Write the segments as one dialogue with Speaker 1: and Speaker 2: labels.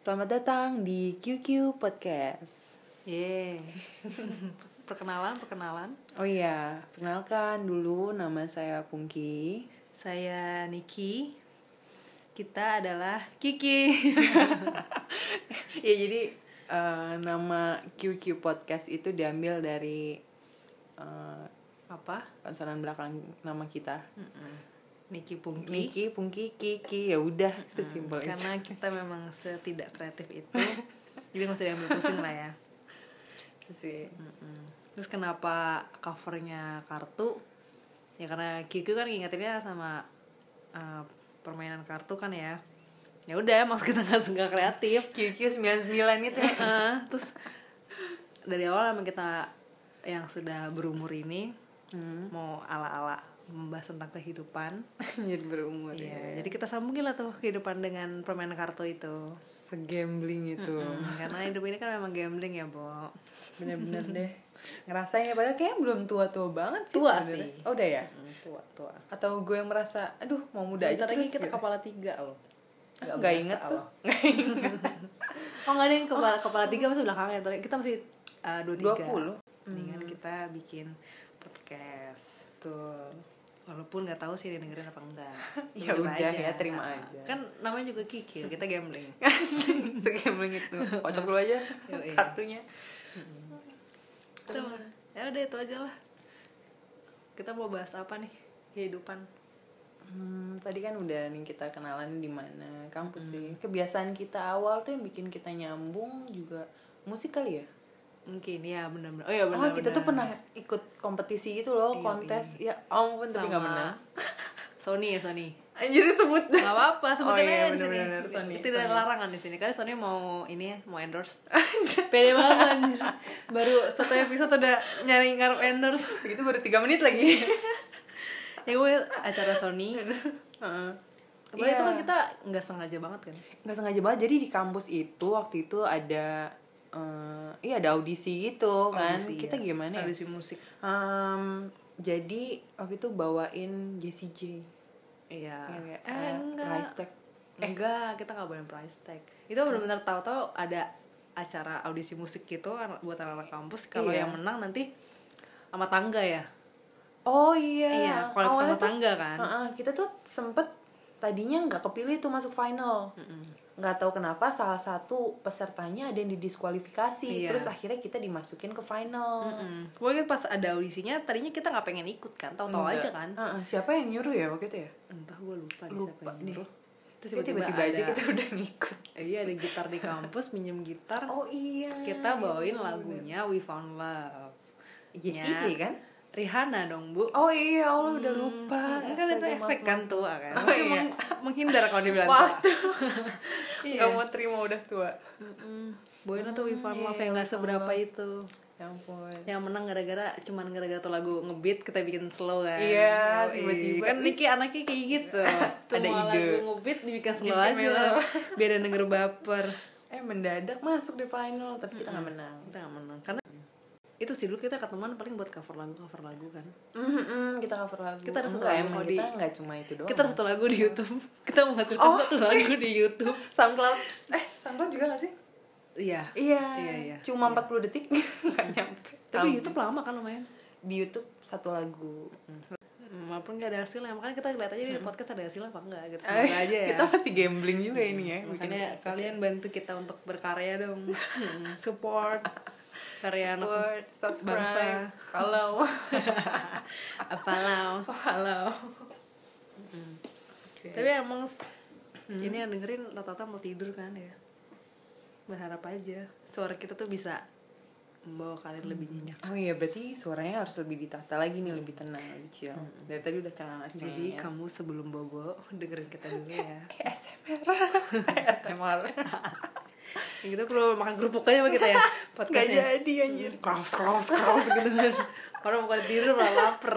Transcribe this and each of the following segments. Speaker 1: Selamat datang di QQ Podcast.
Speaker 2: Ye. perkenalan, perkenalan.
Speaker 1: Oh iya, perkenalkan dulu nama saya Pungki.
Speaker 2: Saya Niki. Kita adalah Kiki.
Speaker 1: ya jadi eh, nama QQ Podcast itu diambil dari eh,
Speaker 2: Apa?
Speaker 1: konsonan belakang nama kita.
Speaker 2: Niki Pungki. Hmm. Ah,
Speaker 1: Niki, Pungki, Kiki, ya udah sesimpel itu.
Speaker 2: Karena kita memang setidak kreatif itu. Jadi nggak usah diambil pusing lah ya.
Speaker 1: Itu sih.
Speaker 2: Terus kenapa covernya kartu? Ya karena Kiki kan ingetinnya sama eh, permainan kartu kan ya. Ya udah, maksud kita nggak nggak kreatif.
Speaker 1: QQ 99 itu ya.
Speaker 2: Heeh, terus dari awal emang kita yang sudah berumur ini
Speaker 1: Hmm.
Speaker 2: mau ala-ala membahas tentang kehidupan.
Speaker 1: Jadi berumur ya.
Speaker 2: Iya, Jadi kita sambungin lah tuh kehidupan dengan permainan kartu itu.
Speaker 1: Segambling itu.
Speaker 2: Hmm, karena hidup ini kan memang gambling ya, Bo.
Speaker 1: Bener-bener deh. Ngerasain ya padahal kayaknya belum tua-tua banget sih.
Speaker 2: Tua
Speaker 1: sebenarnya.
Speaker 2: sih.
Speaker 1: Oh, udah ya.
Speaker 2: Hmm, Tua, tua.
Speaker 1: atau gue yang merasa aduh mau muda aja
Speaker 2: Bentar
Speaker 1: terus
Speaker 2: lagi kita
Speaker 1: gitu.
Speaker 2: kepala tiga loh.
Speaker 1: Nggak
Speaker 2: berasa
Speaker 1: inget tuh.
Speaker 2: loh. oh nggak ada yang kepala, kepala tiga masih belakangnya. Tadi Kita masih uh, dua Hmm. tiga.
Speaker 1: 20.
Speaker 2: Mendingan kita bikin podcast.
Speaker 1: Betul.
Speaker 2: Walaupun nggak tahu sih dia dengerin apa enggak.
Speaker 1: Ya
Speaker 2: Coba
Speaker 1: udah ya, terima aja.
Speaker 2: Kan namanya juga kikir, kita gambling.
Speaker 1: Segambling itu. gitu. Kocok dulu aja
Speaker 2: Yoi.
Speaker 1: kartunya.
Speaker 2: Itu mah. ya udah itu aja lah. Kita mau bahas apa nih? Kehidupan.
Speaker 1: Hmm, tadi kan udah nih kita kenalan di mana kampus sih. Kebiasaan kita awal tuh yang bikin kita nyambung juga musik kali ya.
Speaker 2: Mungkin ya benar-benar. Oh ya
Speaker 1: Oh,
Speaker 2: benar.
Speaker 1: kita tuh pernah ikut kompetisi gitu loh,
Speaker 2: Iya,
Speaker 1: kontes. Ya ampun, tapi nggak menang.
Speaker 2: Sony ya Sony.
Speaker 1: Anjir sebut.
Speaker 2: Gak apa-apa,
Speaker 1: Oh
Speaker 2: sebutin
Speaker 1: iya,
Speaker 2: aja di sini.
Speaker 1: benar-benar, Sony,
Speaker 2: Tidak ada
Speaker 1: Sony.
Speaker 2: larangan di sini. Karena Sony mau ini ya, mau endorse. Pede banget anjir. Baru satu episode udah nyari ngarep endorse.
Speaker 1: Begitu baru tiga menit lagi.
Speaker 2: Ya gue acara Sony.
Speaker 1: Heeh.
Speaker 2: Kemarin itu
Speaker 1: Iya.
Speaker 2: kan kita nggak sengaja banget kan.
Speaker 1: nggak sengaja banget jadi di kampus itu waktu itu ada eh, iya ada audisi gitu kan
Speaker 2: Audisi,
Speaker 1: kita
Speaker 2: ya.
Speaker 1: gimana ya?
Speaker 2: Audisi musik.
Speaker 1: Em, jadi waktu itu bawain Jessie J
Speaker 2: Iya.
Speaker 1: Iya,
Speaker 2: Eh,
Speaker 1: eh,
Speaker 2: enggak. Eh,
Speaker 1: Rice Tech.
Speaker 2: Enggak, kita nggak boleh price tag.
Speaker 1: Hmm.
Speaker 2: Itu benar-benar tahu-tahu ada acara audisi musik gitu an- buat anak-anak kampus. Kalau
Speaker 1: Iya.
Speaker 2: yang menang nanti sama tangga ya.
Speaker 1: oh iya
Speaker 2: Iya, collab
Speaker 1: Awalnya
Speaker 2: sama
Speaker 1: tuh-
Speaker 2: tangga kan.
Speaker 1: Heeh, kita tuh sempet tadinya nggak kepilih tuh masuk final
Speaker 2: Mm-mm.
Speaker 1: nggak tahu kenapa salah satu pesertanya ada yang didiskualifikasi
Speaker 2: Iya.
Speaker 1: terus akhirnya kita dimasukin ke final
Speaker 2: Mm-mm. Gue ingat pas ada audisinya, tadinya kita nggak pengen ikut kan, tahu-tahu
Speaker 1: Enggak.
Speaker 2: aja kan.
Speaker 1: Heeh, siapa yang nyuruh ya waktu itu ya
Speaker 2: Entah gue lupa, deh siapa
Speaker 1: lupa
Speaker 2: yang
Speaker 1: deh
Speaker 2: nyuruh. Terus
Speaker 1: Tapi
Speaker 2: tiba-tiba,
Speaker 1: tiba-tiba aja gitu.
Speaker 2: ada-
Speaker 1: kita udah ngikut
Speaker 2: Iya ada gitar di kampus, minjem gitar.
Speaker 1: Oh iya.
Speaker 2: kita bawain lagunya We Found Love.
Speaker 1: Jessie
Speaker 2: Ya.
Speaker 1: J kan?
Speaker 2: Rihanna dong bu.
Speaker 1: Oh iya, Allah udah lupa.
Speaker 2: Kan
Speaker 1: iya,
Speaker 2: itu
Speaker 1: Astaga,
Speaker 2: efek
Speaker 1: maaf.
Speaker 2: kan tua kan.
Speaker 1: Oh,
Speaker 2: Masih
Speaker 1: iya.
Speaker 2: meng- menghindar kalau dibilang tua.
Speaker 1: Wah, tuh.
Speaker 2: Iya.
Speaker 1: Gak mau terima udah tua.
Speaker 2: Boyna tuh We Found
Speaker 1: iya,
Speaker 2: Love yang
Speaker 1: We
Speaker 2: gak
Speaker 1: Found
Speaker 2: seberapa
Speaker 1: Love.
Speaker 2: itu.
Speaker 1: Ya ampun.
Speaker 2: Yang menang gara-gara cuman gara-gara tuh lagu ngebeat kita bikin slow kan.
Speaker 1: Iya,
Speaker 2: Yoi.
Speaker 1: tiba-tiba.
Speaker 2: Kan Niki anaknya kayak gitu. Tuh
Speaker 1: Ada
Speaker 2: mau
Speaker 1: ide.
Speaker 2: lagu ngebeat dibikin slow
Speaker 1: Dibikin mellow.
Speaker 2: aja. Biar ada denger baper.
Speaker 1: Eh mendadak masuk di final, tapi kita nggak menang.
Speaker 2: Kita gak menang. Karena itu sih dulu kita ketemuan paling buat cover lagu cover lagu kan
Speaker 1: Mm-mm, kita cover lagu.
Speaker 2: Kita ada satu
Speaker 1: Enggak,
Speaker 2: lagu
Speaker 1: emang
Speaker 2: kalau
Speaker 1: kita
Speaker 2: di-
Speaker 1: nggak cuma itu doang.
Speaker 2: kita ada satu lagu di YouTube kita menghasilkan
Speaker 1: Oh.
Speaker 2: satu lagu di YouTube
Speaker 1: SoundCloud. Eh, SoundCloud juga nggak sih?
Speaker 2: iya
Speaker 1: Iya.
Speaker 2: Iya, iya.
Speaker 1: Cuma 40 detik. Nggak nyampe.
Speaker 2: tapi
Speaker 1: Tapi
Speaker 2: YouTube lama kan lumayan
Speaker 1: di YouTube satu lagu.
Speaker 2: Hmm, walaupun nggak ada hasilnya makanya kita lihat aja di podcast ada hasil apa enggak gitu
Speaker 1: Eh,
Speaker 2: semoga aja ya Iya,
Speaker 1: Kita masih gambling juga ini ya. bikin
Speaker 2: makanya kalian bantu kita untuk berkarya dong Hmm, support karya anak
Speaker 1: Support, subscribe,
Speaker 2: bangsa.
Speaker 1: follow,
Speaker 2: apa lah
Speaker 1: follow.
Speaker 2: tapi emang s- ini yang dengerin rata-rata mau tidur kan ya berharap aja suara kita tuh bisa membawa kalian lebih nyenyak
Speaker 1: Oh iya berarti suaranya harus lebih ditata lagi nih lebih tenang lebih chill. Dari tadi udah ya. cengangas
Speaker 2: jadi kamu sebelum bobo dengerin kita dulu ya
Speaker 1: Eh, ASMR ASMR
Speaker 2: yang kita gitu perlu makan kerupuk aja sama kita ya
Speaker 1: Gak
Speaker 2: podcastnya
Speaker 1: jadi anjir
Speaker 2: kraus kraus kraus gitu kan orang bukan tidur malah lapar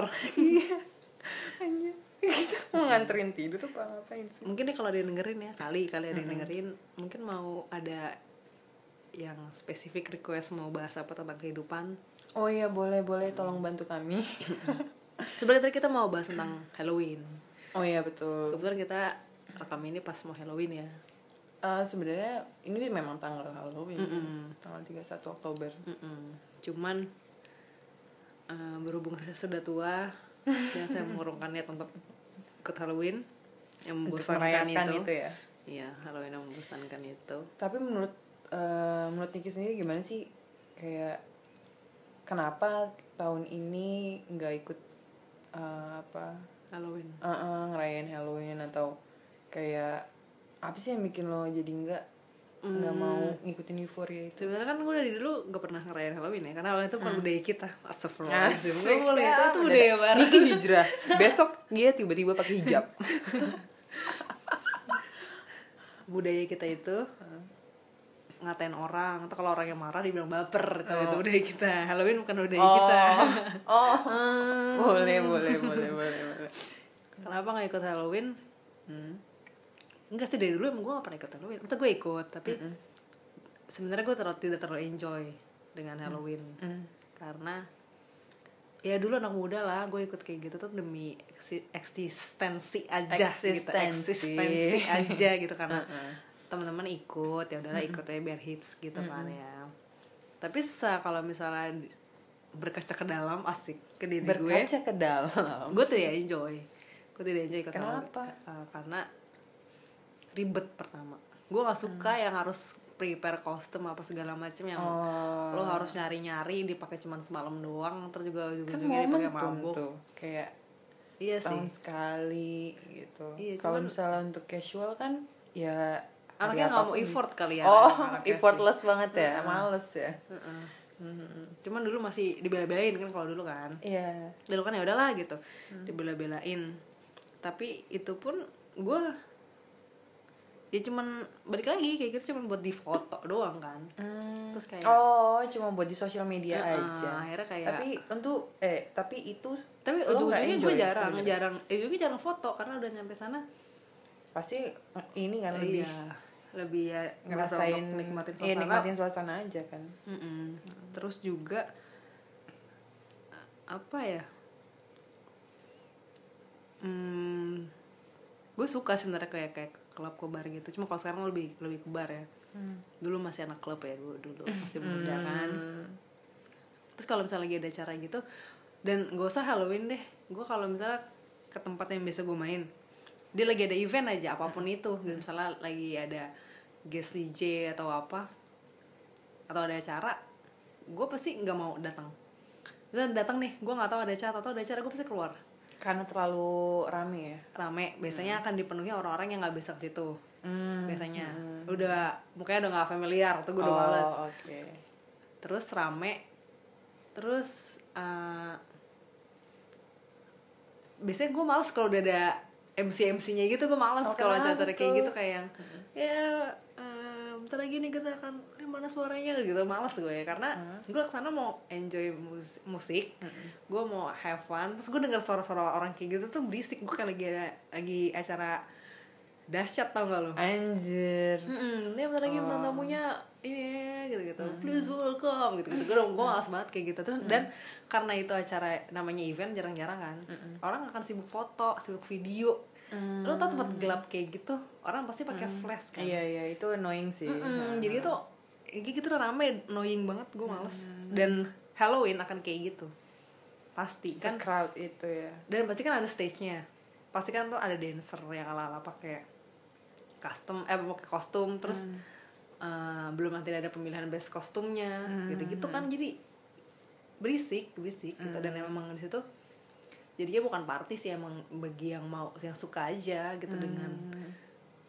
Speaker 1: Anjir Kita mau nganterin tidur apa ngapain sih
Speaker 2: mungkin nih kalau ada yang dengerin ya kali kali ada yang dengerin mungkin mau ada yang spesifik request mau bahas apa tentang kehidupan
Speaker 1: Oh iya boleh boleh tolong bantu kami
Speaker 2: sebenarnya tadi kita mau bahas tentang Halloween
Speaker 1: Oh iya betul
Speaker 2: kebetulan kita rekam ini pas mau Halloween ya
Speaker 1: Eh, sebenarnya ini memang tanggal Halloween
Speaker 2: Mm-mm.
Speaker 1: tanggal 31 Oktober
Speaker 2: Mm-mm. Cuman eh, berhubung saya sudah tua dan saya mengurungkan niat untuk ikut Halloween yang
Speaker 1: untuk
Speaker 2: membosankan
Speaker 1: merayakan
Speaker 2: itu.
Speaker 1: itu. ya
Speaker 2: Iya, Halloween yang membosankan itu.
Speaker 1: tapi menurut eh, menurut Niki sendiri gimana sih kayak kenapa tahun ini nggak ikut eh, apa
Speaker 2: Halloween.
Speaker 1: eh, eh, ngerayain Halloween atau kayak apa sih yang bikin lo jadi nggak nggak mau ngikutin euforia itu
Speaker 2: Sebenarnya kan gue dari dulu gak pernah ngerayain Halloween ya Karena Halloween itu bukan budaya kita Astagfirullahaladzim Gue
Speaker 1: Hmm. Asik,
Speaker 2: mulai
Speaker 1: ya,
Speaker 2: itu, itu
Speaker 1: mendadak.
Speaker 2: budaya barat
Speaker 1: Niki hijrah besok dia tiba-tiba pakai hijab
Speaker 2: Budaya kita itu eh, ngatain orang Atau kalau orang yang marah dibilang baper Kalau itu budaya kita Halloween bukan budaya kita
Speaker 1: oh
Speaker 2: Hmm.
Speaker 1: gitu. boleh boleh boleh boleh boleh
Speaker 2: Kenapa gak ikut Halloween?
Speaker 1: Hmm.
Speaker 2: Enggak sih dari dulu emang gue gak pernah ikut Halloween Atau gue ikut Tapi sebenarnya gue terlalu, tidak terlalu enjoy dengan Halloween
Speaker 1: Hmm.
Speaker 2: karena ya dulu anak muda lah gue ikut kayak gitu tuh demi eksi- eksistensi aja gitu
Speaker 1: Eksistensi.
Speaker 2: eksistensi aja gitu karena
Speaker 1: Heeh.
Speaker 2: teman-teman ikut ya udahlah ikut aja biar hits gitu kan ya tapi se- kalau misalnya di- berkaca ke dalam asik ke diri
Speaker 1: berkaca ke dalam
Speaker 2: gue gue tidak enjoy gue tidak enjoy ikut Halloween.
Speaker 1: Kenapa?
Speaker 2: Eh, karena ribet pertama gue nggak suka yang harus prepare kostum apa segala macem yang
Speaker 1: Mm. Oh.
Speaker 2: lo harus nyari-nyari dipakai cuman semalam doang terus juga juga
Speaker 1: kan
Speaker 2: juga dipakai
Speaker 1: momentum
Speaker 2: mabuk
Speaker 1: tuh kayak
Speaker 2: iya
Speaker 1: tahun
Speaker 2: sih
Speaker 1: sekali gitu
Speaker 2: Iya,
Speaker 1: kalau
Speaker 2: cuman-
Speaker 1: misalnya untuk casual kan ya hari
Speaker 2: anaknya nggak mau
Speaker 1: apapun
Speaker 2: effort kali ya
Speaker 1: oh
Speaker 2: anak-anaknya sih.
Speaker 1: effortless banget ya males ya
Speaker 2: Heeh.
Speaker 1: Mhm.
Speaker 2: cuman dulu masih dibela-belain kan kalau dulu kan
Speaker 1: iya
Speaker 2: dulu kan ya udahlah gitu
Speaker 1: Hmm.
Speaker 2: dibela-belain tapi itu pun gue ya cuman balik lagi kayak gitu cuman buat di foto doang kan
Speaker 1: Hmm.
Speaker 2: Terus kayak-
Speaker 1: oh cuma buat di sosial media
Speaker 2: Heeh,
Speaker 1: Iya aja
Speaker 2: akhirnya kayak
Speaker 1: tapi untuk eh tapi itu lo
Speaker 2: tapi
Speaker 1: nggak
Speaker 2: ujung-ujungnya gue
Speaker 1: enjoy gitu.
Speaker 2: jarang
Speaker 1: sebenarnya?
Speaker 2: jarang eh, ujungnya jarang foto karena udah nyampe sana
Speaker 1: pasti ini kan lebih
Speaker 2: iya lebih ya berusaha untuk
Speaker 1: ngerasain
Speaker 2: nikmatin
Speaker 1: iya,
Speaker 2: suasana
Speaker 1: nikmatin suasana aja kan
Speaker 2: Mm-mm. Terus juga a- apa ya? Hmm, gue suka sebenarnya kayak kayak ke klub ke bar gitu. Cuma kalau sekarang lebih lebih ke bar ya. Dulu masih anak klub ya gue dulu masih muda kan. Terus kalau misalnya lagi ada acara gitu dan gak usah Halloween deh. Gue kalau misalnya ke tempat yang biasa gue main, dia lagi ada event aja apapun itu. Gitu. Misalnya lagi ada guest DJ atau apa atau ada acara, gue pasti nggak mau datang. Misalnya datang nih, gue nggak tahu ada acara atau ada acara gue pasti keluar.
Speaker 1: karena terlalu rame ya
Speaker 2: Rame, biasanya akan dipenuhi orang-orang yang nggak bisa ke situ.
Speaker 1: Hmm.
Speaker 2: Biasanya udah mukanya udah nggak familiar, tuh gue udah
Speaker 1: oh,
Speaker 2: males
Speaker 1: oke
Speaker 2: terus rame terus eh, biasanya gue males kalau udah ada MC MC-nya gitu gue males
Speaker 1: Oh,
Speaker 2: kalau
Speaker 1: kenapa
Speaker 2: acara kayak
Speaker 1: tuh?
Speaker 2: gitu kayak yang ya eh, bentar lagi nih kita akan eh, mana suaranya gitu males gue karena
Speaker 1: Mm-hmm.
Speaker 2: gue kesana mau enjoy mus- musik gue mau have fun terus gue denger suara-suara orang kayak gitu tuh berisik gue kayak lagi ada lagi acara dahsyat tau gak lo
Speaker 1: anjir
Speaker 2: Mm-mm, dia bentar lagi bintang
Speaker 1: Ah.
Speaker 2: tamunya ini gitu-gitu. Please welcome gitu-gitu. Gue gue malas banget kayak gitu. Terus dan karena itu acara namanya event jarang-jarang kan. Orang akan sibuk foto, sibuk video. Lo tau tempat gelap kayak gitu, orang pasti pakai flash
Speaker 1: Mm.
Speaker 2: kan.
Speaker 1: Iya iya itu annoying sih. Nah,
Speaker 2: Mm-mm, jadi itu kayak gitu tuh rame, annoying banget, gue males.
Speaker 1: Nah,
Speaker 2: Dan Halloween akan kayak gitu. Pasti
Speaker 1: kan
Speaker 2: kan
Speaker 1: crowd itu ya.
Speaker 2: dan pasti kan ada stage-nya pasti kan tuh ada dancer yang ala ala pakai custom eh pakai
Speaker 1: Nah,
Speaker 2: kostum terus
Speaker 1: Hmm.
Speaker 2: eh, belum nanti ada pemilihan best kostumnya gitu gitu kan jadi berisik berisik gitu dan emang di situ jadinya bukan party sih emang bagi yang mau yang suka aja gitu
Speaker 1: Hmm.
Speaker 2: dengan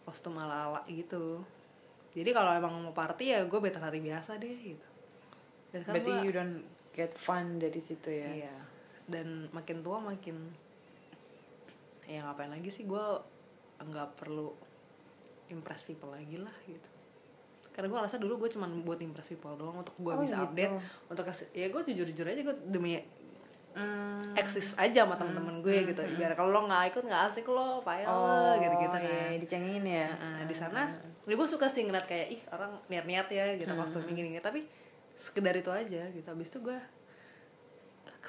Speaker 2: kostum ala ala gitu jadi kalau emang mau party ya gue better hari biasa deh gitu Dan kan
Speaker 1: Berarti
Speaker 2: gua-
Speaker 1: you don't get fun dari situ ya.
Speaker 2: Iya. Dan makin tua makin ya ngapain lagi sih gue nggak perlu impress people lagi lah gitu. Karena gue ngerasa dulu gue cuman buat impress people doang untuk gue
Speaker 1: Oh,
Speaker 2: bisa
Speaker 1: gitu.
Speaker 2: update untuk kasih ya gue jujur-jujur aja gue demi
Speaker 1: Hmm.
Speaker 2: eksis aja sama temen-temen gue gitu biar kalau lo nggak ikut nggak asik lo payah lo E, gitu-gitu kan
Speaker 1: Iya, dicengin ya.
Speaker 2: Nah, di sana
Speaker 1: Ah.
Speaker 2: ya gue suka sih ngeliat kayak ih orang niat-niat ya gitu kostumnya gini-gini tapi sekedar itu aja gitu habis itu gue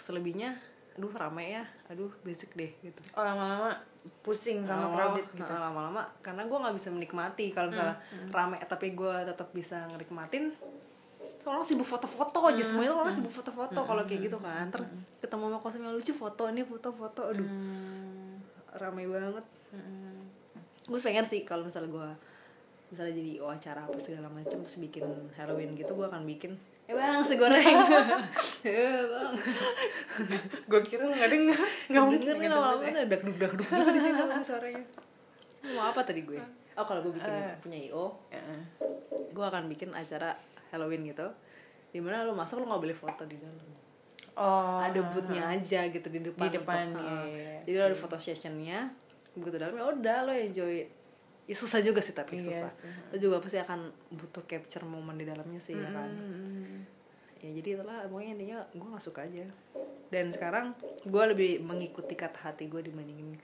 Speaker 2: selebihnya aduh rame ya aduh basic deh gitu
Speaker 1: oh lama-lama pusing sama
Speaker 2: Lama-lama-
Speaker 1: crowded gitu Hmm,
Speaker 2: nah, lama-lama karena gue nggak bisa menikmati kalau misalnya rame tapi gue tetap bisa ngenikmatin Terus orang sibuk foto-foto aja
Speaker 1: Hmm,
Speaker 2: semuanya orang sibuk foto-foto kalau kayak gitu kan ter ketemu sama kosong yang lucu foto ini foto-foto aduh
Speaker 1: Hmm,
Speaker 2: rame banget
Speaker 1: hmm.
Speaker 2: gue pengen sih kalau misalnya gue misalnya jadi oh, acara apa segala macam terus bikin Halloween gitu gue akan bikin eh bang nasi goreng eh bang
Speaker 1: gue kira lu nggak denger
Speaker 2: nggak
Speaker 1: nggak
Speaker 2: mungkin
Speaker 1: mungkin
Speaker 2: kan lama-lama ada dak duk dak duk juga di sini sama suaranya mau apa tadi gue oh kalau gue bikin punya io
Speaker 1: Heeh.
Speaker 2: gue akan bikin acara Halloween gitu dimana lo masuk lo nggak boleh foto di dalam
Speaker 1: oh
Speaker 2: ada bootnya aja gitu di depan
Speaker 1: Di depan, iya,
Speaker 2: untuk, uh,
Speaker 1: iya, iya.
Speaker 2: jadi lo ada foto sessionnya begitu dalamnya udah lo enjoy ya susah juga sih tapi
Speaker 1: Iya
Speaker 2: susah
Speaker 1: sih.
Speaker 2: lo juga pasti akan butuh capture momen di dalamnya sih ya kan
Speaker 1: Hmm.
Speaker 2: ya jadi itulah pokoknya intinya gue nggak suka aja dan sekarang gue lebih mengikuti kata hati gue dibandingin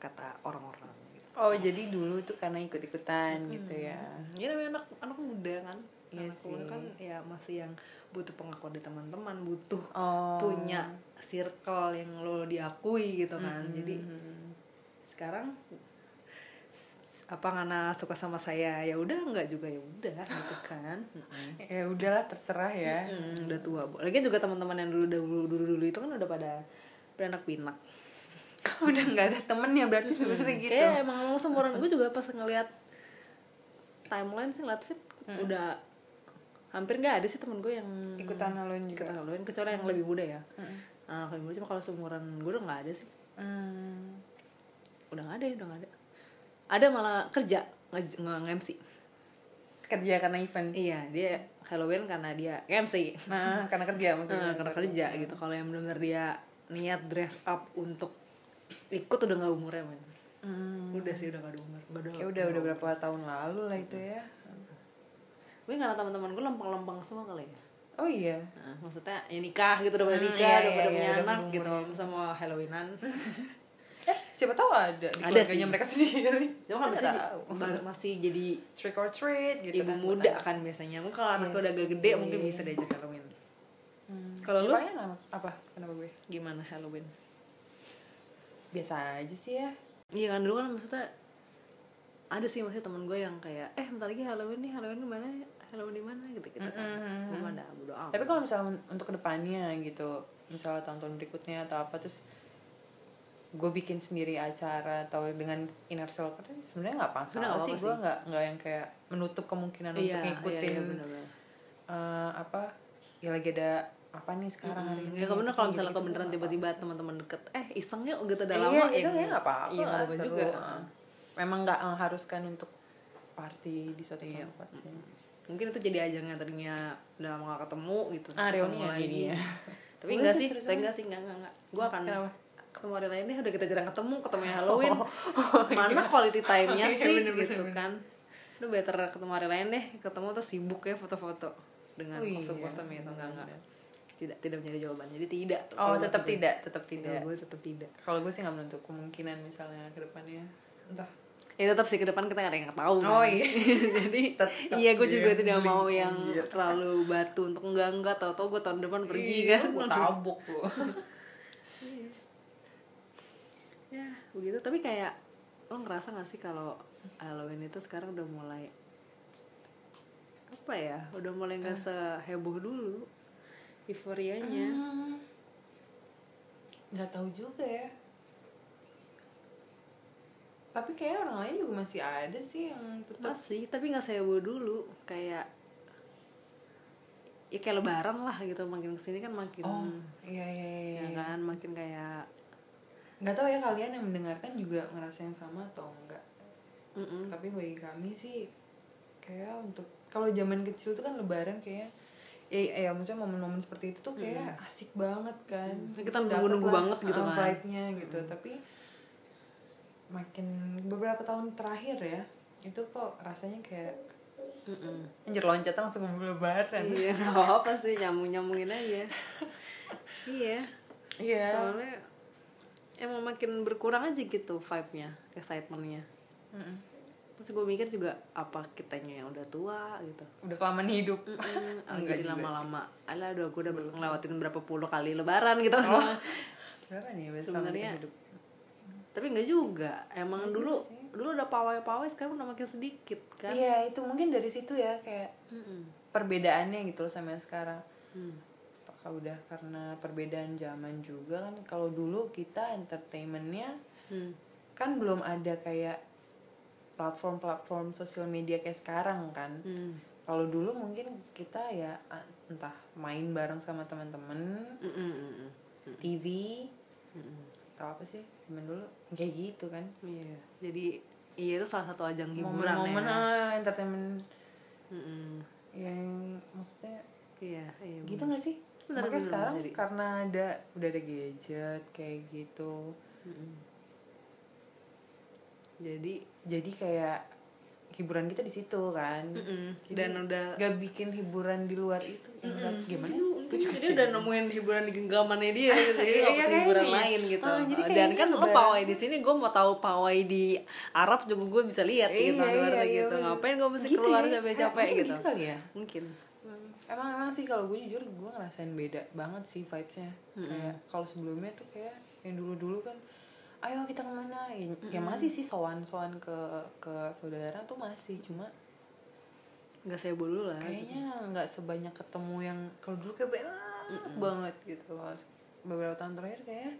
Speaker 2: kata orang-orang gitu.
Speaker 1: oh jadi dulu tuh karena ikut-ikutan gitu ya
Speaker 2: ya namanya anak anak muda kan
Speaker 1: Iya
Speaker 2: anak muda
Speaker 1: sih.
Speaker 2: kan ya masih yang butuh pengakuan dari teman-teman butuh
Speaker 1: oh
Speaker 2: punya circle yang lo diakui gitu kan
Speaker 1: Mm-hmm.
Speaker 2: jadi sekarang s- apa karena suka sama saya ya udah nggak juga ya udah gitu kan Mm-mm.
Speaker 1: ya udahlah terserah ya
Speaker 2: Mm, udah tua bu. Lagi juga teman-teman yang dulu dulu dulu dulu itu kan udah pada beranak pinak.
Speaker 1: udah nggak ada temennya berarti sebenarnya gitu
Speaker 2: Kayak emang emang seumuran gue juga pas ngeliat timeline sih ngeliat fit
Speaker 1: Mm.
Speaker 2: udah hampir nggak ada sih temen gue yang
Speaker 1: ikutan alon juga
Speaker 2: ikutan Halloween, kecuali yang lebih muda ya.
Speaker 1: Mm-mm.
Speaker 2: Nah, lebih muda cuma kalau seumuran gue udah nggak ada sih.
Speaker 1: Hmm.
Speaker 2: Udah nggak ada ya udah nggak ada. Ada malah kerja nge, nge- nge-MC.
Speaker 1: kerja karena event
Speaker 2: Iya dia Halloween karena dia MC.
Speaker 1: nah karena kerja maksudnya
Speaker 2: Nah, karena Eh, kerja gitu kalau yang benar-benar dia niat dress up untuk ikut udah nggak umurnya men
Speaker 1: Hmm.
Speaker 2: udah sih udah nggak ada umur Nggak ada-
Speaker 1: kayak udah udah berapa tahun lalu lah itu ya
Speaker 2: mungkin karena teman-teman gue lempeng-lempeng semua kali ya
Speaker 1: oh iya
Speaker 2: Nah, maksudnya ya nikah gitu udah pada
Speaker 1: Hmm,
Speaker 2: nikah
Speaker 1: iya,
Speaker 2: udah
Speaker 1: iya,
Speaker 2: pada
Speaker 1: iya,
Speaker 2: punya
Speaker 1: udah
Speaker 2: anak
Speaker 1: umur
Speaker 2: gitu sama Halloweenan
Speaker 1: eh siapa tahu ada di
Speaker 2: Ada
Speaker 1: keluarganya
Speaker 2: sih.
Speaker 1: mereka sendiri
Speaker 2: cuma kan
Speaker 1: Kita
Speaker 2: biasanya
Speaker 1: nggak tahu.
Speaker 2: bar- masih jadi
Speaker 1: trick or treat gitu
Speaker 2: ibu
Speaker 1: kan
Speaker 2: muda kan biasanya mungkin kalau anaknya
Speaker 1: Iya
Speaker 2: udah agak gede
Speaker 1: sih.
Speaker 2: mungkin bisa diajak Halloween
Speaker 1: Hmm.
Speaker 2: Kalau lu?
Speaker 1: Palingan apa? apa? Kenapa gue?
Speaker 2: gimana Halloween
Speaker 1: Biasa aja sih ya.
Speaker 2: Iya kan dulu kan maksudnya ada sih maksudnya temen gue yang kayak eh bentar lagi Halloween nih Halloween di mana Halloween di mana gitu gitu kan
Speaker 1: Mm-mm.
Speaker 2: gue mana bodo amat
Speaker 1: Mm-hmm. Tapi kalau misalnya un- untuk kedepannya gitu, misalnya tahun-tahun berikutnya atau apa terus gue bikin sendiri acara atau dengan inner circle kan sebenarnya nggak apa
Speaker 2: Sebenarnya
Speaker 1: salah
Speaker 2: nggak
Speaker 1: sih
Speaker 2: apa
Speaker 1: gue nggak nggak yang kayak menutup kemungkinan
Speaker 2: iya,
Speaker 1: untuk
Speaker 2: iya,
Speaker 1: ngikutin
Speaker 2: iya, bener, bener.
Speaker 1: eh, apa ya lagi ada apa nih sekarang hari ini gitu,
Speaker 2: Ya kalau bener kalau misalnya
Speaker 1: Gitu-gitu
Speaker 2: kalau beneran
Speaker 1: nggak
Speaker 2: tiba-tiba teman-teman deket eh iseng yuk gitu udah
Speaker 1: Iya,
Speaker 2: lama
Speaker 1: itu
Speaker 2: ya
Speaker 1: kayaknya nggak apa-apa
Speaker 2: iya nggak
Speaker 1: lah,
Speaker 2: apa
Speaker 1: seru,
Speaker 2: juga
Speaker 1: uh. memang nggak mengharuskan untuk party di suatu
Speaker 2: Iya.
Speaker 1: tempat sih
Speaker 2: Hmm. mungkin itu jadi ajang yang tadinya udah lama gak ketemu gitu terus
Speaker 1: Ah,
Speaker 2: ketemu
Speaker 1: reuni ya
Speaker 2: lagi
Speaker 1: jadinya.
Speaker 2: tapi
Speaker 1: Boleh
Speaker 2: enggak
Speaker 1: tuh,
Speaker 2: sih
Speaker 1: seru-seru.
Speaker 2: tapi enggak sih enggak enggak enggak gue akan
Speaker 1: Kenapa? Oh.
Speaker 2: ketemu hari lain deh udah kita jarang ketemu ketemu yang Halloween mana quality time-nya
Speaker 1: Iya,
Speaker 2: sih
Speaker 1: bener-bener,
Speaker 2: gitu kan lu better ketemu hari lain deh ketemu terus sibuk ya foto-foto dengan
Speaker 1: Oh, iya,
Speaker 2: kostum-kostum itu enggak enggak tidak tidak menjadi jawaban jadi tidak
Speaker 1: oh
Speaker 2: Kalau gitu.
Speaker 1: tetap
Speaker 2: menurut
Speaker 1: tidak tetap
Speaker 2: gue.
Speaker 1: tidak
Speaker 2: gue tetap tidak
Speaker 1: kalau gue sih nggak menutup kemungkinan misalnya ke depannya entah
Speaker 2: ya tetap sih ke depan kita nggak ada yang tahu
Speaker 1: Oh,
Speaker 2: kan.
Speaker 1: iya.
Speaker 2: jadi
Speaker 1: Tetap
Speaker 2: iya gue juga
Speaker 1: gambling.
Speaker 2: tidak mau yang
Speaker 1: Iya.
Speaker 2: terlalu batu untuk enggak enggak tau tau gue tahun depan pergi
Speaker 1: Iya,
Speaker 2: kan
Speaker 1: gue tabok gue
Speaker 2: ya begitu tapi kayak lo ngerasa gak sih kalau Halloween itu sekarang udah mulai apa ya udah mulai
Speaker 1: Ah.
Speaker 2: nggak seheboh dulu euforianya
Speaker 1: Ah. nggak tahu juga ya tapi kayaknya orang lain juga masih ada sih yang tetap
Speaker 2: masih tapi nggak seheboh dulu kayak ya kayak lebaran lah gitu makin kesini kan makin
Speaker 1: oh iya iya iya
Speaker 2: ya kan makin kayak
Speaker 1: nggak tahu ya kalian yang mendengarkan juga ngerasain sama atau enggak
Speaker 2: mm-mm.
Speaker 1: tapi bagi kami sih kayak untuk kalau zaman kecil tuh kan lebaran kayak ya, ya maksudnya momen-momen seperti itu tuh kayak asik banget kan
Speaker 2: Hmm. Kita
Speaker 1: Dapet
Speaker 2: nunggu-nunggu
Speaker 1: lah,
Speaker 2: banget gitu
Speaker 1: uh,
Speaker 2: kan.
Speaker 1: vibe-nya gitu tapi s- makin beberapa tahun terakhir ya itu kok rasanya kayak
Speaker 2: mm-mm.
Speaker 1: anjir loncat langsung ke lebaran
Speaker 2: iya nggak apa-apa sih nyambung nyambungin aja iya
Speaker 1: iya
Speaker 2: soalnya emang makin berkurang aja gitu vibe nya excitementnya
Speaker 1: Mm-mm.
Speaker 2: terus gue mikir juga apa kitanya yang udah tua gitu
Speaker 1: udah kelamaan hidup
Speaker 2: Mm-mm, ah,
Speaker 1: Enggak
Speaker 2: jadi
Speaker 1: juga
Speaker 2: lama-lama ala udah gue udah ngelewatin berapa puluh kali lebaran gitu
Speaker 1: berapa nih biasa
Speaker 2: Sebenarnya
Speaker 1: hidup
Speaker 2: tapi nggak juga emang dulu dulu udah pawai-pawai sekarang udah makin sedikit kan
Speaker 1: iya itu mungkin dari situ ya kayak
Speaker 2: Mm-mm.
Speaker 1: perbedaannya gitu loh sama yang sekarang
Speaker 2: Hmm.
Speaker 1: apakah udah karena perbedaan zaman juga kan kalau dulu kita entertainmentnya
Speaker 2: Hmm.
Speaker 1: kan belum ada kayak platform-platform sosial media kayak sekarang kan
Speaker 2: Hmm.
Speaker 1: kalau dulu mungkin kita ya a- entah main bareng sama teman-teman
Speaker 2: Mm-mm, mm-mm.
Speaker 1: TV
Speaker 2: Mm-mm.
Speaker 1: atau apa sih zaman dulu kayak gitu kan
Speaker 2: Iya. jadi iya itu salah satu ajang hiburan
Speaker 1: momen-momen
Speaker 2: ya
Speaker 1: ah, entertainment
Speaker 2: Mm-mm.
Speaker 1: yang maksudnya
Speaker 2: iya iya
Speaker 1: gitu nggak sih
Speaker 2: Bener,
Speaker 1: makanya
Speaker 2: bener,
Speaker 1: sekarang
Speaker 2: jadi.
Speaker 1: karena ada udah ada gadget kayak gitu
Speaker 2: Mm-mm. jadi
Speaker 1: jadi kayak hiburan kita di situ kan Jadi
Speaker 2: dan udah
Speaker 1: gak bikin hiburan di luar itu enggak. gimana sih Gua juga
Speaker 2: dia udah nemuin hiburan di genggamannya dia gitu. Jadi
Speaker 1: Iya,
Speaker 2: waktu
Speaker 1: kayaknya.
Speaker 2: hiburan lain gitu.
Speaker 1: Ah, jadi
Speaker 2: Dan
Speaker 1: kayaknya
Speaker 2: kan lo
Speaker 1: lebaran.
Speaker 2: pawai di sini gue mau tahu pawai di Arab juga gue bisa lihat gitu.
Speaker 1: Iya,
Speaker 2: Iya,
Speaker 1: iya,
Speaker 2: gitu.
Speaker 1: bener.
Speaker 2: Ngapain gue mesti
Speaker 1: Gitu
Speaker 2: keluar
Speaker 1: ya.
Speaker 2: capek-capek
Speaker 1: Eh, mungkin
Speaker 2: gitu.
Speaker 1: gitu kali ya
Speaker 2: Mungkin.
Speaker 1: Hmm. emang emang sih kalau gue jujur gue ngerasain beda banget sih vibesnya kayak kalau sebelumnya tuh kayak yang dulu dulu kan ayo kita kemana ya, ya masih sih sowan sowan ke ke saudara tuh masih cuma
Speaker 2: Gak sebo dulu lah.
Speaker 1: kayaknya nggak sebanyak ketemu yang kalau dulu kayak banyak banget gitu Kalau se- beberapa tahun terakhir kayaknya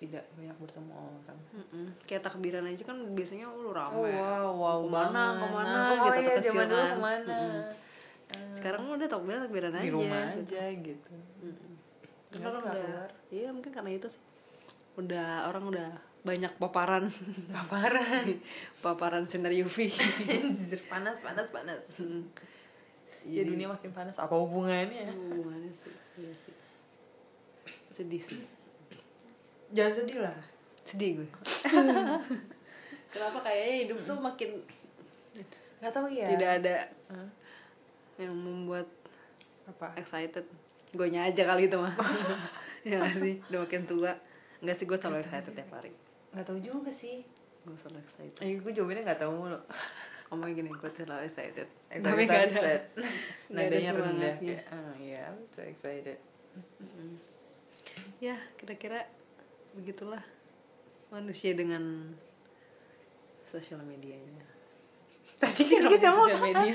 Speaker 1: tidak banyak bertemu orang
Speaker 2: Mm-mm. Kayak takbiran aja kan biasanya lu
Speaker 1: oh,
Speaker 2: rame.
Speaker 1: wow wow
Speaker 2: Kemana,
Speaker 1: banget.
Speaker 2: kemana,
Speaker 1: Langsung,
Speaker 2: gitu,
Speaker 1: oh iya,
Speaker 2: tuh kecil
Speaker 1: zaman dulu
Speaker 2: kan.
Speaker 1: kemana Eh,
Speaker 2: Sekarang mah udah takbiran takbiran aja.
Speaker 1: di rumah aja gitu
Speaker 2: Terus
Speaker 1: Nggak
Speaker 2: orang
Speaker 1: suka
Speaker 2: udah,
Speaker 1: keluar.
Speaker 2: iya mungkin karena itu sih. Udah orang udah banyak paparan
Speaker 1: paparan
Speaker 2: paparan sinar UV.
Speaker 1: Anjir, panas panas panas
Speaker 2: Hmm.
Speaker 1: ya
Speaker 2: Jadi-
Speaker 1: dunia makin panas apa hubungannya
Speaker 2: hubungannya Gitu, sih iya sih sedih sih
Speaker 1: jangan sedih lah
Speaker 2: sedih gue kenapa kayaknya hidup tuh makin
Speaker 1: nggak tahu ya
Speaker 2: tidak ada
Speaker 1: Hah?
Speaker 2: yang membuat
Speaker 1: apa
Speaker 2: excited gue aja kali itu mah ya nggak sih udah makin tua nggak sih gue
Speaker 1: Gitu
Speaker 2: selalu excited tiap hari
Speaker 1: nggak tahu juga sih
Speaker 2: gue selalu excited
Speaker 1: eh gue jawabannya nggak tahu mulu
Speaker 2: ngomong gini gue selalu excited
Speaker 1: tapi
Speaker 2: nggak
Speaker 1: nggak ada
Speaker 2: nggak ada
Speaker 1: nadanya rendah
Speaker 2: semangatnya
Speaker 1: kayak ah ya I'm so excited
Speaker 2: ya kira-kira begitulah manusia dengan sosial medianya tadi kan
Speaker 1: kita mau-
Speaker 2: sosial media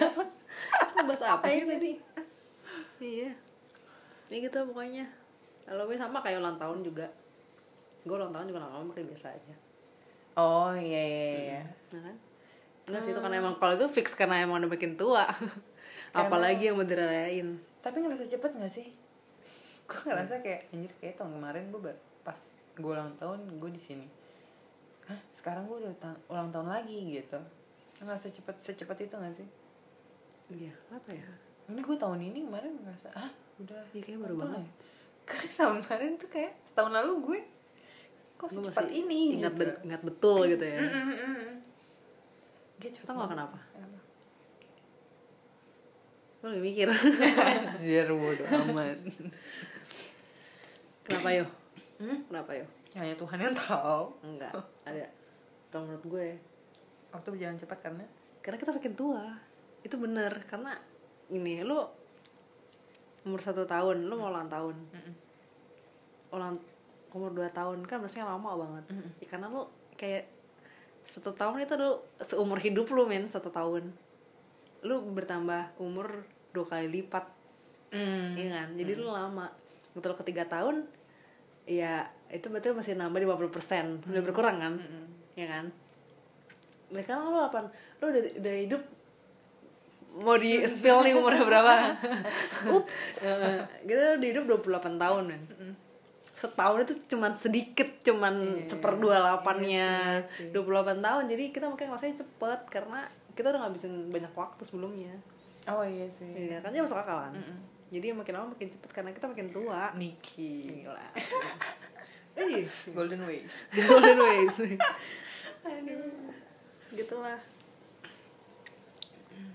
Speaker 2: bahas apa sih tadi iya ya gitu pokoknya kalau gue sama kayak ulang tahun juga gue ulang tahun juga lama-lama makin biasa aja
Speaker 1: oh iya iya iya
Speaker 2: ya kan Enggak sih itu karena emang kalau itu fix karena emang udah makin tua apalagi yang mau dirayain
Speaker 1: tapi ngerasa cepet nggak sih gue ngerasa kayak anjir kayak tahun kemarin gue pas gue ulang tahun gue di sini Hah, sekarang gue udah ta- ulang tahun lagi gitu ngerasa cepet secepat itu nggak sih
Speaker 2: iya apa ya
Speaker 1: ini gue tahun ini kemarin ngerasa ah udah
Speaker 2: Iya, kayaknya baru
Speaker 1: ulang tahun
Speaker 2: banget.
Speaker 1: ya." Kayak tahun kemarin tuh kayak setahun lalu gue kok
Speaker 2: Gue
Speaker 1: secepat
Speaker 2: masih
Speaker 1: ini
Speaker 2: ingat,
Speaker 1: gitu.
Speaker 2: bet- ingat betul gitu ya
Speaker 1: Mm, mm, mm, mm. Dia cepet
Speaker 2: Tau
Speaker 1: banget.
Speaker 2: gak kenapa? gue lagi mikir
Speaker 1: Anjir bodo amat
Speaker 2: Kenapa yo?
Speaker 1: Hmm?
Speaker 2: Kenapa yo?
Speaker 1: Hanya Tuhan yang tahu
Speaker 2: Enggak, ada. Kalau menurut gue,
Speaker 1: Waktu berjalan cepat kan, karena
Speaker 2: karena kita makin tua, itu bener. Karena ini lo umur satu tahun, lo mau ulang tahun, ulang umur dua tahun kan maksudnya lama banget. Ya, karena lo kayak satu tahun itu lo seumur hidup lo men satu tahun, lo bertambah umur dua kali lipat, iya kan? Jadi lo lama. Gitu lo ketiga tahun, ya itu berarti lo masih nambah 50% persen, udah berkurang kan? ya kan mereka lo delapan lo udah, udah hidup mau di spill nih umurnya berapa ups gitu lo udah hidup 28 tahun men setahun itu cuman sedikit cuman seperdua delapannya 28 tahun jadi kita mungkin ngerasanya cepet karena kita udah ngabisin banyak waktu sebelumnya
Speaker 1: Oh iya sih
Speaker 2: ya kan jadi masuk akal kan jadi makin lama makin cepet karena kita makin tua
Speaker 1: Niki
Speaker 2: gila
Speaker 1: Ih, Golden Ways
Speaker 2: golden ways gitulah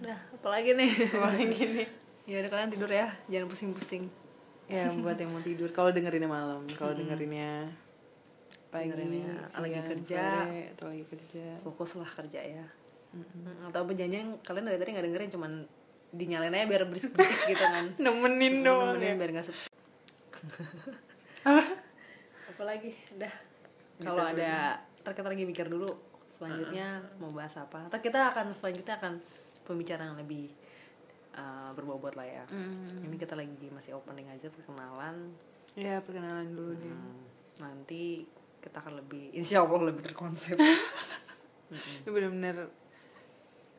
Speaker 2: nah apalagi nih
Speaker 1: Kemarin gini
Speaker 2: ya udah kalian tidur ya jangan pusing-pusing
Speaker 1: Ya buat yang mau tidur Kalau dengerinnya malam Kalau dengerinnya Pagi
Speaker 2: Dengerinnya
Speaker 1: siang,
Speaker 2: lagi kerja.
Speaker 1: sore, Atau lagi kerja
Speaker 2: fokuslah kerja ya Mm, atau perjanjian kalian dari tadi nggak dengerin cuman dinyalain aja biar berisik berisik gitu kan
Speaker 1: nemenin doang
Speaker 2: Nemenin
Speaker 1: ya
Speaker 2: biar nggak sepi
Speaker 1: Apa?
Speaker 2: apalagi dah kalau ada ntar kita lagi mikir dulu Ah. selanjutnya mau bahas apa atau kita akan selanjutnya akan pembicaraan yang lebih uh, berbobot lah ya
Speaker 1: Mm.
Speaker 2: ini kita lagi masih opening aja perkenalan
Speaker 1: ya perkenalan dulu deh
Speaker 2: Hmm, nanti kita akan lebih insya allah lebih terkonsep
Speaker 1: ini bener-bener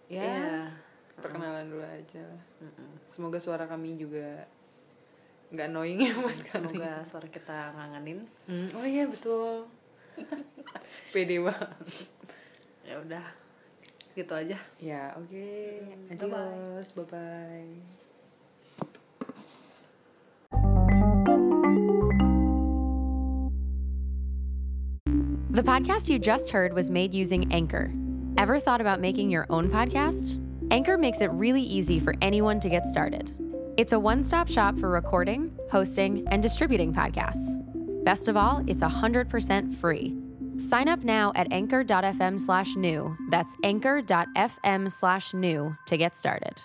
Speaker 1: ya
Speaker 2: Iya.
Speaker 1: perkenalan dulu aja lah.
Speaker 2: Mm-mm.
Speaker 1: semoga suara kami juga nggak annoying ya buat kalian
Speaker 2: semoga suara kita ngangenin
Speaker 1: Hmm, oh iya betul pede banget
Speaker 2: ya udah gitu aja
Speaker 1: ya oke
Speaker 2: Bye-bye.
Speaker 1: adios bye bye
Speaker 3: The podcast you just heard was made using Anchor. Ever thought about making your own podcast? Anchor makes it really easy for anyone to get started. It's a one stop shop for recording, hosting, and distributing podcasts. Best of all, it's 100% free. Sign up now at anchor.fm slash new. That's anchor.fm slash new to get started.